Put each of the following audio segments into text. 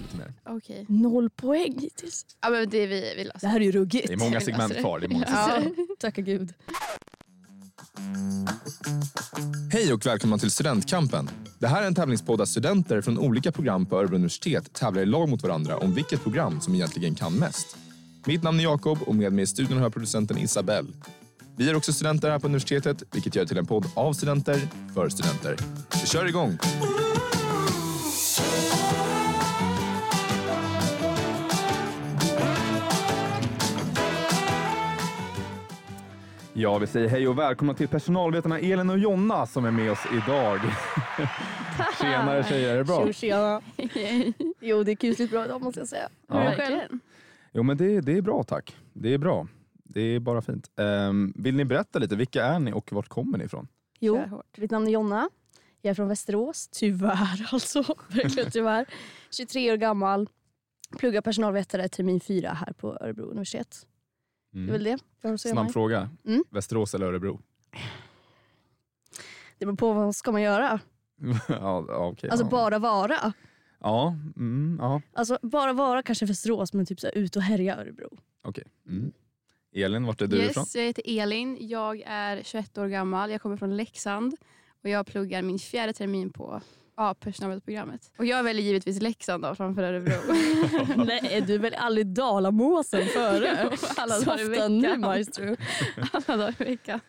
lite mer. Okej. Noll poäng hittills. Ja men det vi, vi Det löser. här är ju ruggigt. Det är många Alltså, segment det- kvar. Det är många segment. Ja. Tacka gud. Hej och välkomna till Studentkampen. Det här är en tävlingspodd där studenter från olika program på Örebro universitet tävlar i lag mot varandra om vilket program som egentligen kan mest. Mitt namn är Jakob och med mig i studion har jag producenten Isabelle. Vi är också studenter här på universitetet, vilket gör det till en podd av studenter, för studenter. Vi kör igång! Ja, vi säger hej och välkomna till personalvetarna Elin och Jonna som är med oss idag. Tjenare tjejer, är det bra? Tjo tjena. Jo det är kusligt bra idag måste jag säga. Ja. Ja. Verkligen. Jo, men det, det är bra tack. Det är bra. Det är bara fint. Ehm, vill ni berätta lite, vilka är ni och vart kommer ni ifrån? Jo, Kör hårt. mitt namn är Jonna. Jag är från Västerås, tyvärr alltså. Verkligen tyvärr. 23 år gammal. Pluggar personalvetare termin 4 här på Örebro universitet. Det är väl det. Vad har du att säga om Mm. Snabb mig? fråga, Mm. Västerås eller Örebro? Det beror på vad ska man göra. ja, ja, okej. Alltså ja. bara vara. Ja, mm, ja. Alltså bara vara kanske Västerås men typ så här, ut och härja Örebro. okej. Mm. Elin, vart är du ifrån? Yes, jag heter Elin. Jag är 21 år gammal. Jag kommer från Leksand. Och jag pluggar min fjärde termin på ja, personalprogrammet. Och jag väljer givetvis Leksand då, framför Örebro. Nej du är väl aldrig Dalamåsen före? Alla dagar i Softa nu veckan. maestro. Alla dagar i veckan.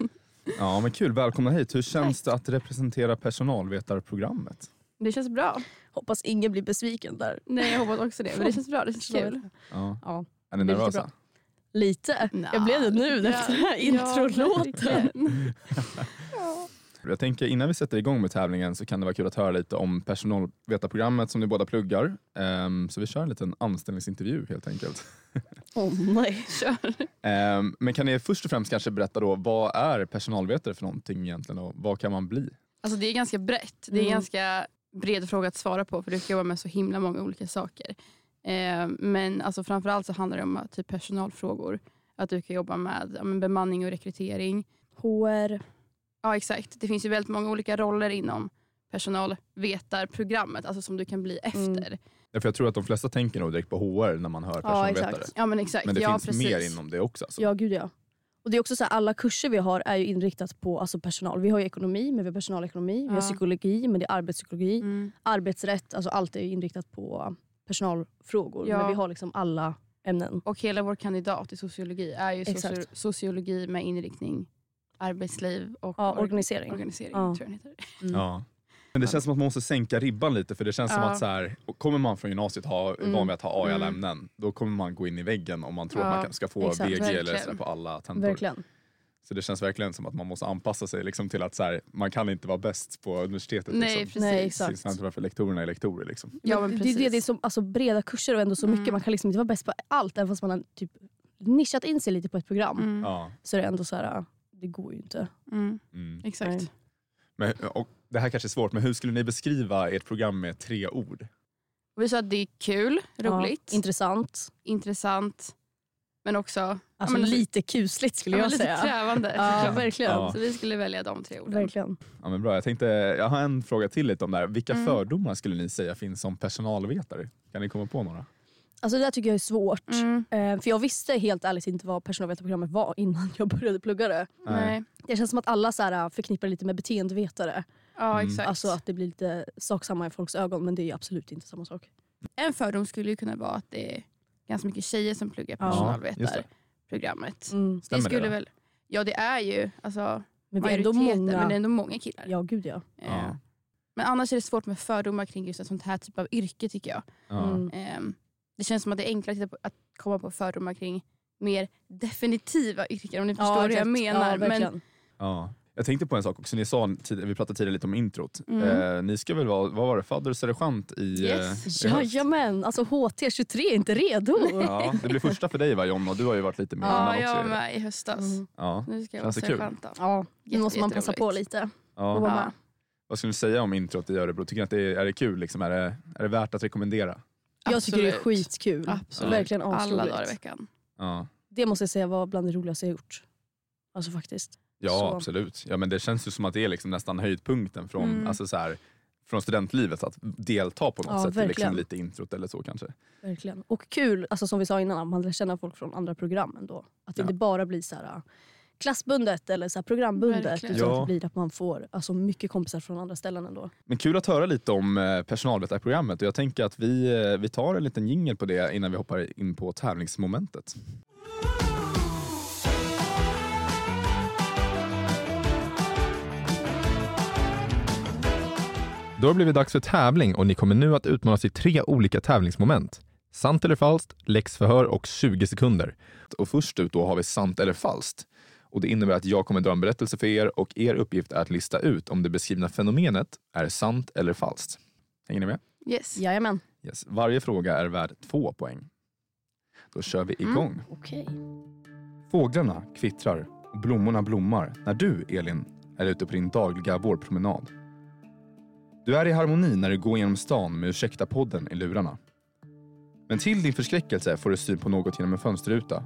Ja, men kul. Välkomna hit. Hur känns det att representera personalvetarprogrammet? Det känns bra. Hoppas ingen blir besviken där. Nej, jag hoppas också det. Men det känns bra. Det känns kul. Ja. Ja. Är ni Det är nervösa? jättebra. Lite. Nja, jag blev det nu ja, efter den här ja, introlåten. verkligen. Jag tänker innan vi sätter igång med tävlingen så kan det vara kul att höra lite om personalvetarprogrammet som ni båda pluggar. Ehm, så vi kör en liten anställningsintervju helt enkelt. Åh nej. Kör. Ehm, men kan ni först och främst kanske berätta då, vad är personalvetare för någonting egentligen och vad kan man bli? Alltså det är ganska brett. Det är en Mm. ganska bred fråga att svara på för du ska jobba med så himla många olika saker. Eh, men alltså framförallt så handlar det om eh, typ personalfrågor. Att du kan jobba med ja, men bemanning och rekrytering. HR. Ja exakt. Det finns ju väldigt många olika roller inom personalvetarprogrammet, alltså som du kan bli Mm. efter. Ja, För jag tror att de flesta tänker nog direkt på HR när man hör personalvetare. exakt. Ja men exakt. men det ja, finns precis. mer inom det också. Alltså. Ja gud ja. Och det är också så här, alla kurser vi har är ju inriktat på alltså personal. Vi har ju ekonomi, men vi har personalekonomi. Vi har Ja. psykologi, men det är arbetspsykologi. Mm. Arbetsrätt, alltså allt är ju inriktat på personalfrågor. Ja. Men vi har liksom alla ämnen. Och hela vår kandidat i sociologi är ju socio- Exakt. sociologi med inriktning arbetsliv och Ja, orga- organisering. organisering Ja. tror jag den heter. Ja. Men det känns som att man måste sänka ribban lite för det känns som Ja. Mm. att så här, och kommer man från gymnasiet och ha- är van vid att ha A i alla ämnen, då kommer man gå in i väggen om man tror Ja, att man kan- ska få exakt, VG eller verkligen. sådär på alla tentor. Verkligen. Så det känns verkligen som att man måste anpassa sig liksom till att så här, man kan inte vara bäst på universitetet. Nej liksom. precis. Nej, Det är exakt. intressant varför lektorerna är lektorer. Liksom. Ja, men det är precis. det, det är så, alltså, breda kurser och ändå så mycket. Man kan liksom inte vara bäst på allt. Även fast man har typ nischat in sig lite på ett program. Mm. Ja. Mm. Så är det ändå så här, äh, det går ju inte. Exakt. Nej. Men, och det här kanske är svårt, men hur skulle ni beskriva ert program med tre ord? Och Vi sa att det är kul, roligt, Ja, intressant. intressant, men också ja, Alltså men lite kusligt skulle ja, men jag lite säga. krävande. Ja, såklart. verkligen. Ja. Så vi skulle välja de tre orden. Verkligen. Ja, men bra. Jag, tänkte, jag har en fråga till lite om det här. Vilka Mm. fördomar skulle ni säga finns som personalvetare? Kan ni komma på några? Alltså det där tycker jag är svårt. Mm. Eh, För jag visste helt ärligt inte vad personalvetarprogrammet var innan jag började plugga det. Nej. Det känns som att alla så här äh, förknippar det lite med beteendevetare. Ja, Mm. exakt. Alltså att det blir lite saksamma i folks ögon men det är ju absolut inte samma sak. En fördom skulle ju kunna vara att det är ganska mycket tjejer som pluggar Ja, just det. personalvetarprogrammet. Mm. Stämmer det skulle då? väl Ja det är ju alltså, Men vi är ändå majoriteten många. men det är ändå många killar. Ja gud ja. Eh, Men annars är det svårt med fördomar kring just ett sånt här typ av yrke tycker jag. Ja. Mm. Ehm, det känns som att det är enklare att, titta på, att komma på fördomar kring mer definitiva yrken om ni förstår vad jag exakt. menar. Ja, men, verkligen. Ja. Jag tänkte på en sak också. Ni sa, tid- vi pratade tidigare lite om introt. Mm. Eh, ni ska väl vara, vad var det, fadder och sergeant i... eh, Yes. i höst? Jajamän, alltså HT23 är inte redo. Ja, det blir första för dig va Jonna? Du har ju varit lite med innan ja, också. jag var Erik. med i höstas. Ja. Nu ska jag vara Känns det kul? sergeant då. Mm. Ja, nu Jätte- Mm, måste man passa jätteroligt. på lite. Och Ja. vara Ja. med. Vad skulle du säga om introt i Örebro? Tycker ni att det är, är det kul? Liksom? Är, det, är det värt att rekommendera? Jag tycker det är Absolut. skitkul. Absolut. Verkligen Alla dagar i asroligt. veckan. Ja, Det måste jag säga var bland det roligaste jag gjort. Alltså faktiskt. ja Så. absolut. Ja, men det känns ju som att det är liksom nästan höjdpunkten från, alltså så här, från studentlivet att delta på något Mm. Ja, sätt. i Liksom verkligen. lite introt eller så kanske. Verkligen. Och kul, alltså som vi sa innan, att man lär känna folk från andra program ändå. Att det Ja. inte bara blir så här, äh, klassbundet eller så här programbundet. Verkligen. Utan Ja. att det blir att man får alltså, mycket kompisar från andra ställen ändå. Men kul att höra lite om eh, personalvetarprogrammet och jag tänker att vi, eh, vi tar en liten jingel på det innan vi hoppar in på tävlingsmomentet. Då har det blivit dags för tävling och ni kommer nu att utmanas i tre olika tävlingsmoment. Sant eller falskt, läxförhör och 20 sekunder. Och först ut då har vi sant eller falskt. Och det innebär att jag kommer dra en berättelse för er och er uppgift är att lista ut om det beskrivna fenomenet är sant eller falskt. Hänger ni med? Yes. Jajamän. Yes. Varje fråga är värd två poäng. Då kör vi Mm. igång. Okej. Fåglarna kvittrar och blommorna blommar när du, Elin, är ute på din dagliga vårpromenad. Du är i harmoni när du går genom stan med Ursäkta-podden i lurarna. Men till din förskräckelse får du syn på något genom en fönsterruta.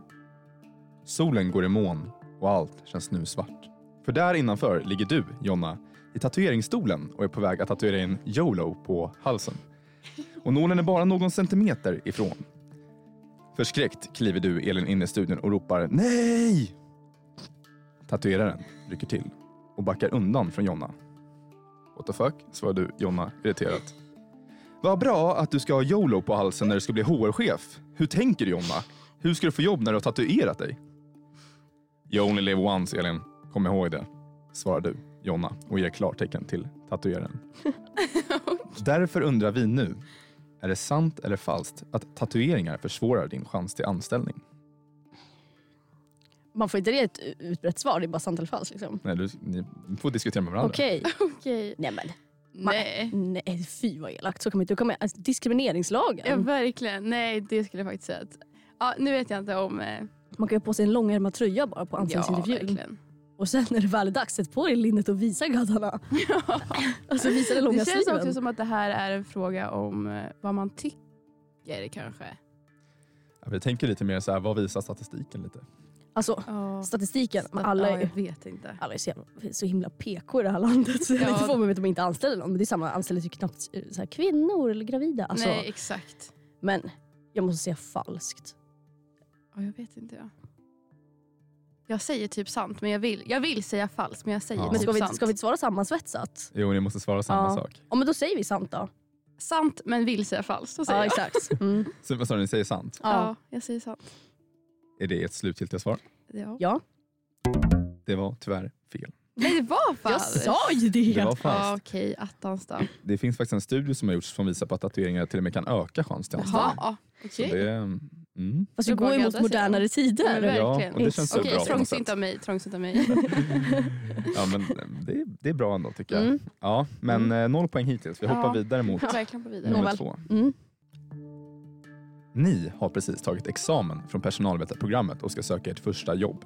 Solen går i moln och allt känns nu svart. För där innanför ligger du, Jonna, i tatueringsstolen och är på väg att tatuera in YOLO på halsen. Och nålen är bara någon centimeter ifrån. Förskräckt kliver du, Elin, in i studion och ropar NEJ! Tatueraren rycker till och backar undan från Jonna. What the fuck? svarar du, Jonna, irriterat. Vad bra att du ska ha YOLO på halsen när du ska bli HR-chef. Hur tänker du, Jonna? Hur ska du få jobb när du har tatuerat dig? You only live once, Elin. Kom ihåg det, svarar du, Jonna, och ger klartecken till tatueraren. Därför undrar vi nu, är det sant eller falskt att tatueringar försvårar din chans till anställning? Man får inte ge ett utbrett svar, det är bara sant eller falskt. Liksom. Nej, du, ni får diskutera med varandra. Okej. Okej. Nej men Nej. nej, fy vad elakt. Så kan man inte. Då kan man, alltså, diskrimineringslagen. Ja, verkligen. Nej, det skulle jag faktiskt säga att... Ja, nu vet jag inte om... Eh, Man kan ju ha på sig en långärmad tröja bara på anställningsintervjun. verkligen. och sen när det väl är dags, sätt på dig linnet och visa gaddarna. alltså visa den långa Det känns också sliven. som att det här är en fråga om eh, vad man tycker kanske. Ja, vi tänker lite mer så här, vad visar statistiken lite? Alltså Oh. statistiken, men alla är ja, jag vet inte. Alla är så, jävla, så himla PK i det här landet. Så jag är Ja. lite förvånad över att de inte anställer någon. Men det är samma, anställer ju knappt eh, så här, kvinnor eller gravida. Alltså, Nej, exakt. men jag måste säga falskt. Ja, jag vet inte. Ja. Jag säger typ sant, men jag vill, jag vill säga falskt. Men jag säger Ja. typ Men ska vi, sant. ska vi inte svara sammansvetsat? Jo, ni måste svara samma Ja. sak. Ja men då säger vi sant då. Sant, men vill säga falskt. Så säger Ja jag. exakt. Mm. Så, vad sa du, ni säger sant? Ja. Ja. jag säger sant. Är det ett slutgiltigt svar? Ja. Ja. Det var tyvärr fel. Nej, det var falskt. Jag sa ju det! Det var Ja, falskt. okej. Attans då. Det finns faktiskt en studie som har gjorts som visar på att tatueringar till och med kan öka chans till anställning. Jaha, ja, Så okej. det, mm. Fast Det vi var går ju mot gadda, säger modernare tider. Men ja, verkligen. och det känns så Okej, bra på något trångsynt sätt. av mig. Trångsynt av mig. Ja, men eh, det, det är bra ändå tycker jag. Mm. Ja, men eh, noll poäng hittills. Vi hoppar Ja. vidare mot Ja, verkligen på vidare. nummer Nåväl. två. Mm. Ni har precis tagit examen från personalvetarprogrammet och ska söka ert första jobb.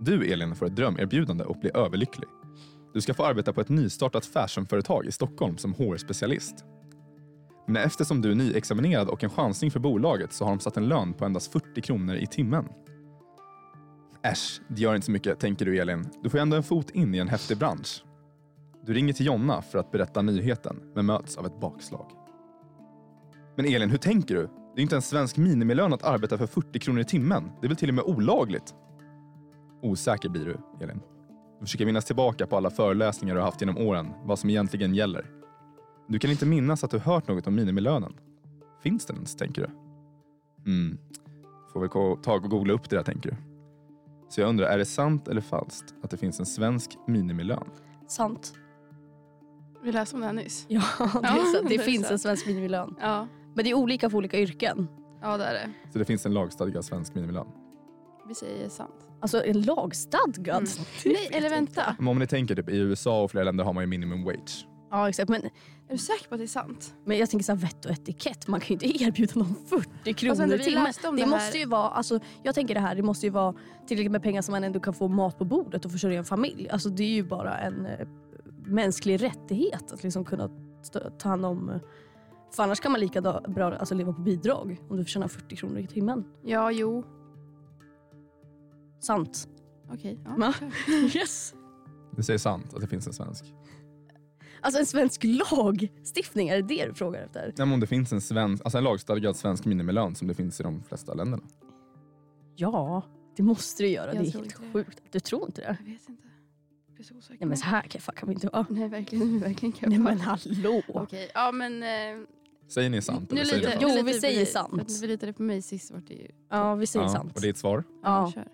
Du Elin får ett drömerbjudande och blir överlycklig. Du ska få arbeta på ett nystartat fashionföretag i Stockholm som HR-specialist. Men eftersom du är nyexaminerad och en chansning för bolaget så har de satt en lön på endast 40 kronor i timmen. Äsch, det gör inte så mycket, tänker du Elin. Du får ändå en fot in i en häftig bransch. Du ringer till Jonna för att berätta nyheten, men möts av ett bakslag. Men Elin, hur tänker du? Det är inte en svensk minimilön att arbeta för 40 kronor i timmen. Det är väl till och med olagligt? Osäker blir du, Elin. Du försöker minnas tillbaka på alla föreläsningar du har haft genom åren, vad som egentligen gäller. Du kan inte minnas att du hört något om minimilönen. Finns den ens, tänker du? Mm. Får väl gå- ta och googla upp det där, tänker du. Så jag undrar, är det sant eller falskt att det finns en svensk minimilön? Sant. Vi läste om det här nyss. Ja, det, Ja, är sant. det det är finns en sant. svensk minimilön. Ja, Men det är olika för olika yrken. ja det är det. Så det finns en lagstadgad svensk minimilön. Vi säger sant. Alltså en lagstadgad. Mm. Det Nej, vet eller jag inte. vänta. Men om ni tänker, typ, i USA och flera länder har man ju minimum wage. Ja exakt. Men, Är du säker på att det är sant? men jag tänker så här, vett och etikett. Man kan ju inte erbjuda någon 40 Fast kronor ändå, i vi timmen. läste om det, det här. måste ju vara, alltså, jag tänker det här, det måste ju vara tillräckligt med pengar som man ändå kan få mat på bordet och försörja en familj. Alltså, det är ju bara en eh, mänsklig rättighet att liksom kunna stö- ta hand om eh, för annars kan man lika da- bra alltså, leva på bidrag om du förtjänar 40 kronor i timmen. Ja, jo. Sant. Okej. ja. Ma? Yes! Du säger sant att det finns en svensk. Alltså en svensk lagstiftning, är det det du frågar efter? Nej, men om det finns en, svensk, alltså en lagstadgad svensk minimilön som det finns i de flesta länderna. Ja, det måste du göra. Jag det är tror helt inte det. sjukt. Du tror inte det? Jag vet inte. Jag blir så osäker. Nej men så här kan, fan, kan vi inte vara. Nej, verkligen, verkligen kan Nej jag men bara- hallå! Okej, ja men... Eh, Säger ni sant? nu eller säger litar- ni Jo, nu vi litar på säger dig, sant. för att Vi litade på mig sist vart det ju... Ja vi säger falskt? sant. Och det är ett svar? Ja. kör.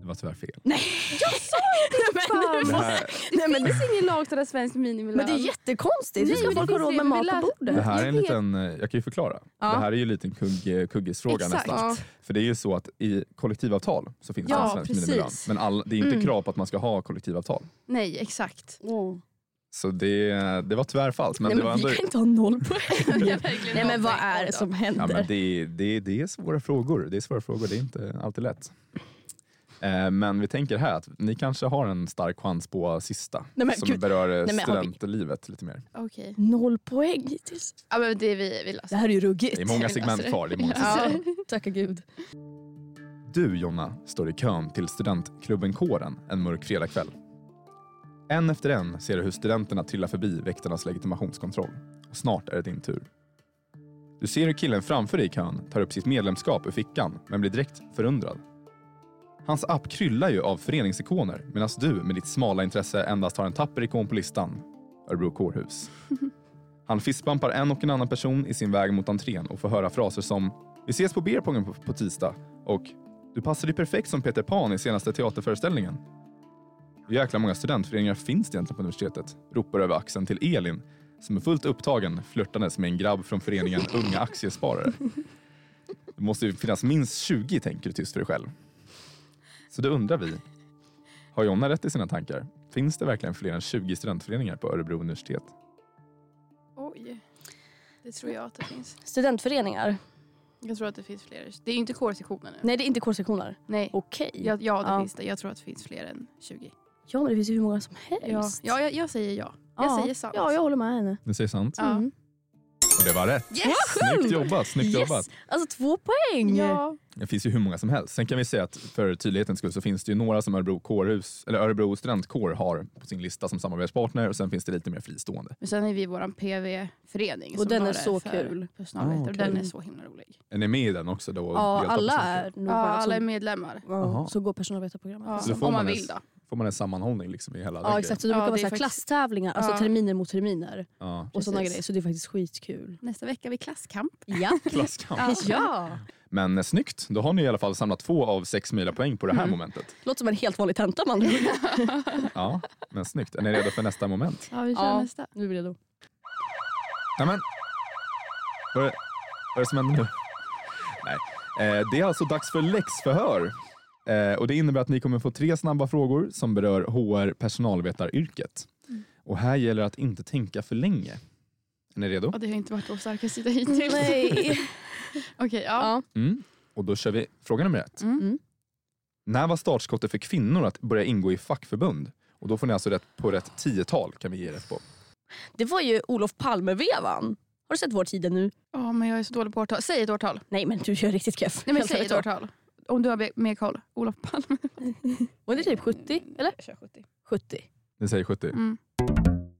Det var tyvärr fel. Nej! Jag sa inte fan. Det men, här, nej, men, Det finns ingen lagstadgad svensk minimilön. men det är jättekonstigt. Hur Nej, ska men folk det ha finns råd ju- med vi mat på läser- bordet? det här är en Jag vet. liten, eh, jag kan ju förklara. Ja. Det här är ju en liten kugg, eh, kuggisfråga Exakt. nästan. Ja. För det är ju så att i kollektivavtal så finns det Ja, en svensk precis. minimilön. Men all, det är ju inte Mm. krav på att man ska ha kollektivavtal. Nej, exakt. Så det, det var tyvärr falskt. Men nej det men var vi ändå... kan inte ha noll poäng. verkligen nej men vad någonting. är det som händer? Ja, men det, det, det är svåra frågor. Det är svåra frågor, det är inte alltid lätt. Eh, Men vi tänker här att ni kanske har en stark chans på sista Nej, men som gud. berör eh, Nej, men har vi- studentlivet lite mer. Okej. Noll poäng hittills. Ja men det är vi, vi Det löser. här är ju ruggigt. Det är många vi löser segment det. kvar. Det är många Ja. segment. Tacka gud. Du Jonna står i kön till studentklubben Kåren en mörk fredagkväll. En efter en ser du hur studenterna trillar förbi väktarnas legitimationskontroll. Och snart är det din tur. Du ser hur killen framför dig i kön tar upp sitt medlemskap ur fickan men blir direkt förundrad. Hans app kryllar ju av föreningsikoner medan du med ditt smala intresse endast har en tapper ikon på listan. Örebro kårhus. Han fistbumpar en och en annan person i sin väg mot entrén och får höra fraser som “Vi ses på Beerpongen på, på tisdag” och du passade ju perfekt som Peter Pan i senaste teaterföreställningen. Hur jäkla många studentföreningar finns det egentligen på universitetet? Ropar över axeln till Elin som är fullt upptagen flörtandes med en grabb från föreningen Unga Aktiesparare. Det måste ju finnas minst 20 tänker du tyst för dig själv. Så då undrar vi, har Jonna rätt i sina tankar? Finns det verkligen fler än 20 studentföreningar på Örebro universitet? Oj. Det tror jag att det finns. Studentföreningar? Jag tror att det finns fler. Det är ju inte kårsektionen nu. Nej det är inte kårsektioner. Nej. Okej. Ja, ja det Ja. finns det. Jag tror att det finns fler än 20. Ja men det finns ju hur många som Ja, helst. ja jag, jag säger ja. Jag Ja. säger sant. Ja, jag håller med henne. Ni säger sant? Ja. Mm. Och det var rätt. Yes! Snyggt jobbat, snyggt Yes! jobbat. Alltså två poäng! Ja. Det finns ju hur många som helst. Sen kan vi säga att för tydlighetens skull så finns det ju några som Örebro, kårhus, eller Örebro studentkår har på sin lista som samarbetspartner och sen finns det lite mer fristående. Men sen är vi vår PV-förening. Och som den bara är så för kul. Personalvetare. Ah, Och okej. den är så himla rolig. Är ni med i den också? Då och Ja, deltar på alla sin- är nog Ja, bara alla är som, medlemmar. Jaha. ja, så går personalvetarprogrammet. Ja, Så då om får man man vill ett- då. Får man en sammanhållning liksom i hela den Ja, grejen? exakt. Så det Ja, brukar det vara är så här faktiskt- klasstävlingar, alltså Ja. terminer mot terminer. Ja. Och sådana Precis. grejer. Så det är faktiskt skitkul. Nästa vecka har vi klasskamp. Ja. Klasskamp. ja. Men eh, snyggt, då har ni i alla fall samlat två av sex möjliga poäng på det Mm. här momentet. Låter som en helt vanlig tenta man. Ja, men snyggt. Är ni redo för nästa moment? Ja, vi kör Ja. nästa. Nu blir det då. Nämen! Vad är, vad är det som händer nu? Nej. Eh, det är alltså dags för läxförhör. Eh, och det innebär att ni kommer få tre snabba frågor som berör HR personalvetaryrket. Mm. Och här gäller det att inte tänka för länge. Är ni redo? Ja, det har inte varit vår starka sida hittills. Nej. Okej, ja. Ja. Mm. Och då kör vi fråga nummer ett. Mm. Mm. När var startskottet för kvinnor att börja ingå i fackförbund? Och då får ni alltså rätt på rätt tiotal kan vi ge rätt på. Det var ju Olof Palme-vevan. Har du sett Vår tid är nu? Ja, men jag är så dålig på årtal. Säg ett årtal. Nej men du gör riktigt keff. Nej, men Helt säg ärligt ett då. årtal. Om du har mer koll. Olof Palme. Var det typ 70? Eller? Mm. Jag kör 70. 70. Ni säger 70. Mm.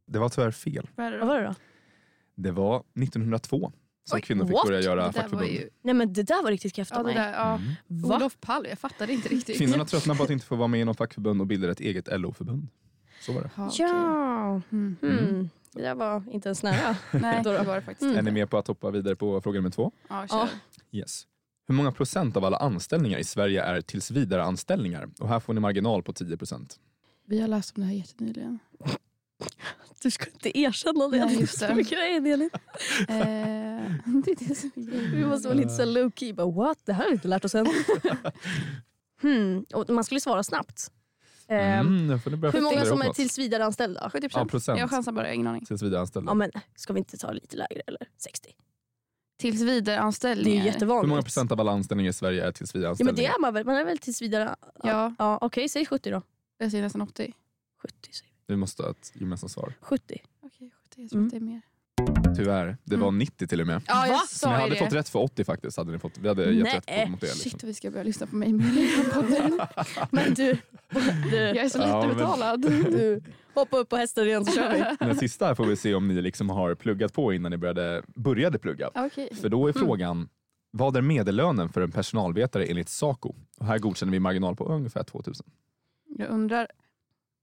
Det var tyvärr fel. Vad är det Vad då? var det då? Det var 1902 som Oj, kvinnor fick what? börja göra det där var fackförbund. ju... Nej men det där var riktigt keft Ja, av det mig. där, ja. Mm. Va? Olof Palme, jag fattade inte riktigt. Kvinnorna tröttnade på att inte få vara med i någon fackförbund och bildade ett eget LO-förbund. Så var det. Ja, okej. Ja. Mm. Mm. Det där var inte ens nära. Nej, Då det då. var det faktiskt Mm. Är ni inte. med på att hoppa vidare på fråga nummer två? Ja, Ja. kör. Yes. Hur många procent av alla anställningar i Sverige är tills vidare anställningar? Och här får ni marginal på 10 procent. Vi har läst om det här jättenyligen. Du ska inte erkänna det. Nej, just det. är grejen Elin. Eh, det är det som är grejen. Vi måste vara lite så low key. Bara, What? Det här har vi inte lärt oss än. hmm. och man skulle svara snabbt. Ehm, Mm, nu får ni börja hur många fundera som är uppåt. tills vidare anställda? 70 ja, procent. procent jag chansar bara, jag har ingen aning. tills vidare anställda. Ja, men, ska vi inte ta lite lägre? Eller 60? Tills Det är vidareanställningar. ju jättevanligt. Hur många procent av alla anställningar i Sverige är tills vidare Ja, men det anställningar? är man väl? Man är väl tills vidare... Ja, Ja, Okej, säg 70 då. jag säger nästan 80. 70 säger Vi måste ha ett gemensamt svar. vi. 70. Okej, 70. Jag tror Mm. att det är mer. Tyvärr, det var 90 till och med. Ja, jag Va? Så ni sa ju hade det. fått rätt för 80 faktiskt. Hade ni fått, vi hade gett Nej. eh, rätt på, mot det. Liksom. Shit, vi ska börja lyssna på mig mer i den här podden. Men du... du, Jag är så Ja, men- lättbetalad. du Hoppa upp på hästen igen så kör vi. Den sista här får vi se om ni liksom har pluggat på innan ni började, började plugga. Okej. För då Mm. är frågan, vad är medellönen för en personalvetare enligt Saco? Och här godkänner vi marginal på ungefär 2000. Jag undrar,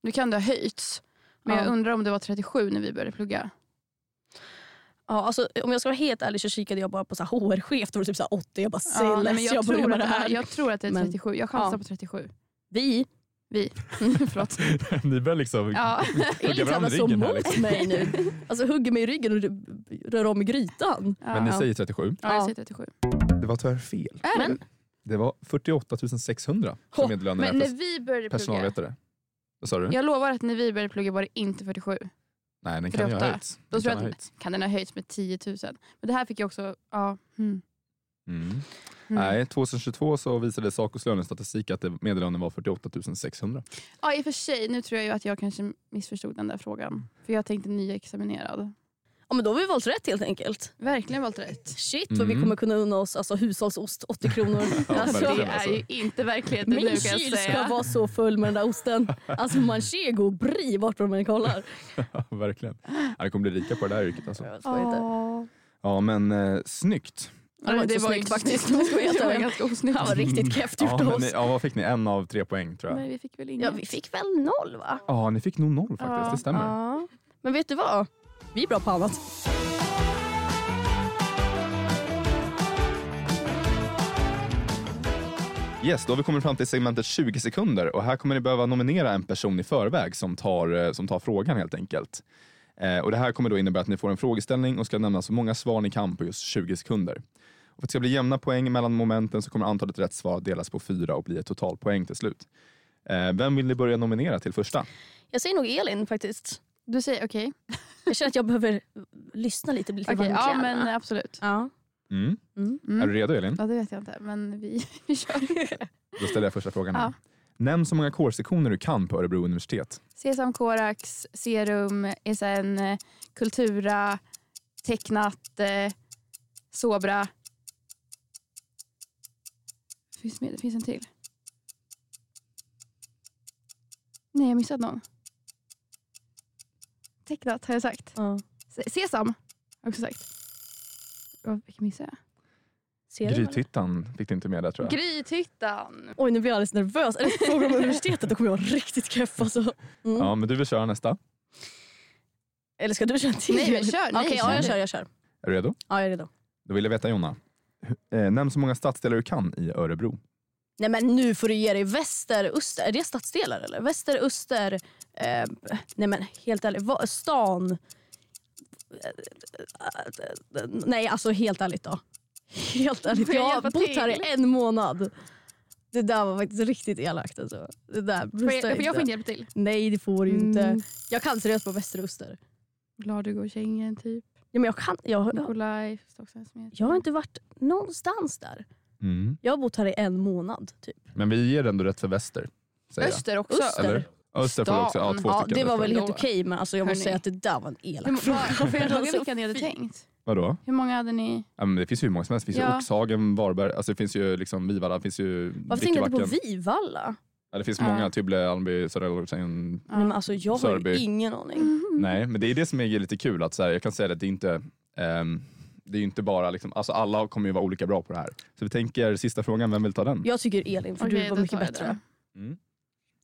nu kan det ha höjts, men Ja. jag undrar om det var 37 när vi började plugga. Ja, alltså, om jag ska vara helt ärlig så kikade jag bara på så här HR-chef, då var det typ så här 80. Jag bara, säg Ja, nej, less, men jag, jag, börjar tror med att det här. jag tror att det är Men- 37, jag chansar Ja. på 37. Vi Vi. Förlåt. ni börjar liksom Ja. är lite jävla varandra i så ryggen mot här, liksom. mig nu. Alltså hugger mig i ryggen och r- rör om i grytan. Men ni ja. säger 37. ja, jag säger 37. Det var tyvärr fel. Är Men- det? Det var 48 600 Ho, som medellönen är Men när för vi började plugga, personalvetare. Vad sa du? jag lovar att när vi började plugga var det inte 47. Nej, den kan ju ha 48. höjts. Då Den tror kan jag ha att- höjts. Kan den ha höjts med 10 000? Men det här fick jag också, ja. Mm. Mm. Mm. Nej, 2022 så visade Sacos lönestatistik att det- medellönen var 48 600. Ja, i och för sig, nu tror jag ju att jag kanske missförstod den där frågan. För jag tänkte nyexaminerad. Ja, men då har vi valt rätt helt enkelt. Verkligen valt rätt. Shit vad vi Mm. kommer kunna unna oss alltså, hushållsost 80 kronor. Ja, Alltså, verkligen, det alltså, är alltså. ju inte verkligheten nu min kan jag kyl ska säga. vara så full med den där osten. Alltså manchego och brie vart man än kollar. Verkligen. Ja, det kommer bli rika på det där yrket. Alltså. Jag skojar inte. Ja, men eh, snyggt. Ja, det var inte så snyggt faktiskt. om jag ska vara helt Det var ärlig. ganska osnyggt. Han var riktigt kräft gjort Ja, av men oss. ni, ja, vad fick ni? En av tre poäng tror jag. Men vi fick väl Ja, inget. vi fick väl noll va? Ja, ni fick nog noll faktiskt. Det stämmer. Ja. Men vet du vad? Vi är bra på annat. Yes, då har vi kommit fram till segmentet 20 sekunder och här kommer ni behöva nominera en person i förväg som tar, eh, som tar frågan helt enkelt. Eh, och det här kommer då innebära att ni får en frågeställning och ska nämna så många svar ni kan på just 20 sekunder. Och för att det ska bli jämna poäng mellan momenten så kommer antalet rätt svar delas på fyra och bli ett totalpoäng till slut. Eh, vem vill ni börja nominera till första? Jag säger nog Elin faktiskt. Du säger okej. Jag känner att jag behöver lyssna lite, bli lite Okej, varm i ja kläderna. men absolut. Ja. Mm. eh, Mm. Är du redo Elin? Ja, det vet jag inte, men vi, vi kör. Då ställer jag första frågan. Ja. Ja. Nämn så många kårsektioner du kan på Örebro universitet. Sesam, Korax, Serum, SN, eh, Kultura, Tecknat, eh, Sobra. Finns med, det finns en till. Nej, jag missat någon. Tecknat har jag sagt. Ja. Se- Sesam har jag också sagt. Vad- Vilken missade Ser du? eller? Grythyttan fick du inte med där tror jag? jag. Grythyttan. Oj, nu blir jag alldeles nervös. Är det frågor om universitetet då kommer jag vara riktigt keff alltså. Mm. Ja, men du vill köra nästa. Eller ska du köra till? Nej, men kör. Nej, Okej, kör ja, jag du. kör. Jag kör. Är du redo? Ja, jag är redo. Då vill jag veta Jonna, hu- eh, nämn så många stadsdelar du kan i Örebro. Nej men nu får du ge dig väster, öster, är det stadsdelar eller? Väster, öster, eh, nej men helt ärligt, va, stan. Nej alltså helt ärligt då. Helt ärligt, Får jag jag har hjälpa bott till? här i en månad. Det där var faktiskt riktigt elakt alltså. Det där Får bröstar jag, får jag inte. få hjälp till? Nej det får du ju inte. Mm. Jag kan seriöst på väster, öster. Ladugårdskängen typ. Ja, men jag, kan, jag, jag, Nikolaj. Stockholmsmässan. jag har inte varit någonstans där. Jag har bott här i en månad typ. Mm. Men vi ger ändå rätt för väster. Säger jag. Öster också. Öster. Eller? Öster får du också. Ja, Stan. två Ja, stycken. det var rätt väl för. helt okej men alltså, jag måste Hörni. säga att det där var en elak Hur, var, varför jag frågade vilka ni hade Fy. tänkt? Vadå? Hur många hade ni? Ja, men det finns ju hur många som helst. Det finns ju Ja. Oxhagen, Varberg, alltså det finns ju liksom Vivalla, det finns ju Varför tänkte jag inte Vickebacken. på Vivalla? Ja, det finns Ja. många. Tibble, Almby, Södra Långsen. Ja. Mm. Nej, men alltså, jag har ju Sörby. ingen aning. Nej, men det är det som är lite kul. Att så här, jag kan säga det, att det är inte... ehm, det är ju inte bara liksom, alltså alla kommer ju vara olika bra på det här. Så vi tänker sista frågan, vem vill ta den? Jag tycker Elin för Okej, du var då mycket tar jag bättre. den.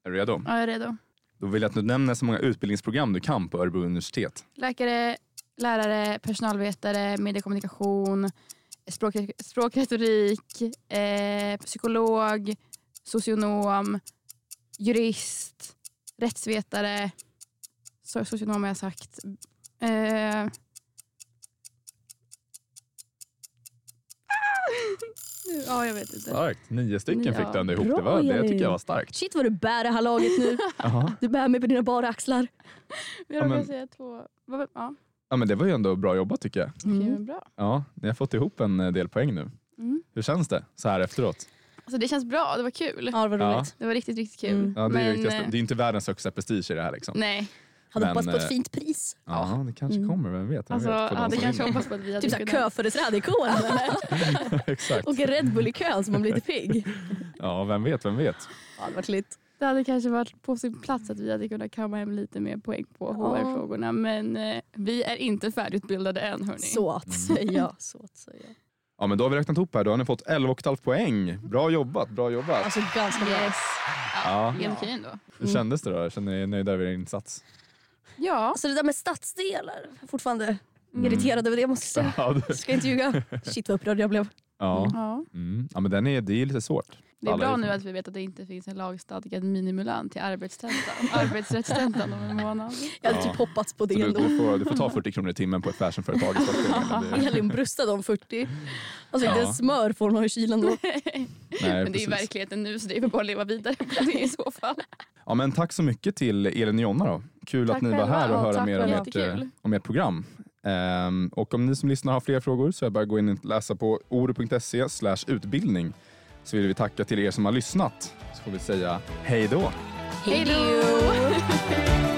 Är du redo? Ja, jag är redo. Då vill jag att du nämner så många utbildningsprogram du kan på Örebro universitet. Läkare, lärare, personalvetare, mediekommunikation, språk, språkretorik, eh, psykolog, socionom, jurist, rättsvetare. So socionom har jag sagt. Eh. Ah! Ja, jag vet inte. Starkt. Nio stycken Ja. fick du ändå ihop. Bra, det, var, det Elin. tycker jag var starkt. Shit vad du bär det här laget nu. Du bär mig på dina bara axlar. Jag råkade men- säga två. vad- Ja, Ja, men det var ju ändå bra jobbat tycker jag. okej, Mm. men bra. Ja, ni har fått ihop en eh, del poäng nu. Mm. Hur känns det så här efteråt? Alltså, det känns bra, det var kul. Ja, det var Ja. roligt. Det var riktigt, riktigt kul. Mm. Ja, det, är ju, riktigt- eh, det är ju inte världens högsta prestige i det här. Liksom. Nej, Hade Men, hoppats på ett eh, fint pris. Ja, det kanske Mm. kommer, vem vet? Vem alltså, vet jag för de hade som kanske vinner. hoppats på att vi hade Typ såhär kunnat- köföreträde i kåren. eller? Exakt. Och en Red Bull i kön så man blir lite pigg. Ja, vem vet, vem vet. Ja, det var lit. Det hade kanske varit på sin plats att vi hade kunnat kamma hem lite mer poäng på HR-frågorna. Men eh, vi är inte färdigutbildade än hörni. Så att Mm. säga. Så att säga. Ja, men då har vi räknat ihop här. Då har ni fått 11,5 poäng. Bra jobbat, bra jobbat. Alltså ganska bra. Yes. Ja. Ja, Helt okej ändå. Hur kändes det då? Känner ni er nöjda över er insats? Ja, Alltså det där med stadsdelar. Mm. Jag är Fortfarande Mm. irriterad över det måste jag säga. Ja, det- Ska inte ljuga. Shit vad upprörd jag blev. ja. ja. Mm. ja men den är, det är lite svårt. Det är Alla bra är nu för- att vi vet att det inte finns en lagstadgad minimilön till arbetstentan- arbetsrättstentan om en månad. Jag hade Ja. typ hoppats på det Så du, ändå. du, får, du får ta 40 kronor i timmen på ett fashionföretag i Stockholm. eller det- Elin bröstade om 40. Alltså inte Ja. ens smör får hon ha i kylen då. Nej, Men det är ju precis. verkligheten nu så det är väl bara att leva vidare på det i så fall. Ja, men tack så mycket till Elin och Jonna. Då. Kul Tack att ni var själva. här och Ja, höra tack mer om själva. ert, Jättekul. eh, om ert program. Ehm, och om ni som lyssnar har fler frågor så är det bara att gå in och läsa på oro.se slash utbildning. Så vill vi tacka till er som har lyssnat. Så får vi säga hej då. Hej då!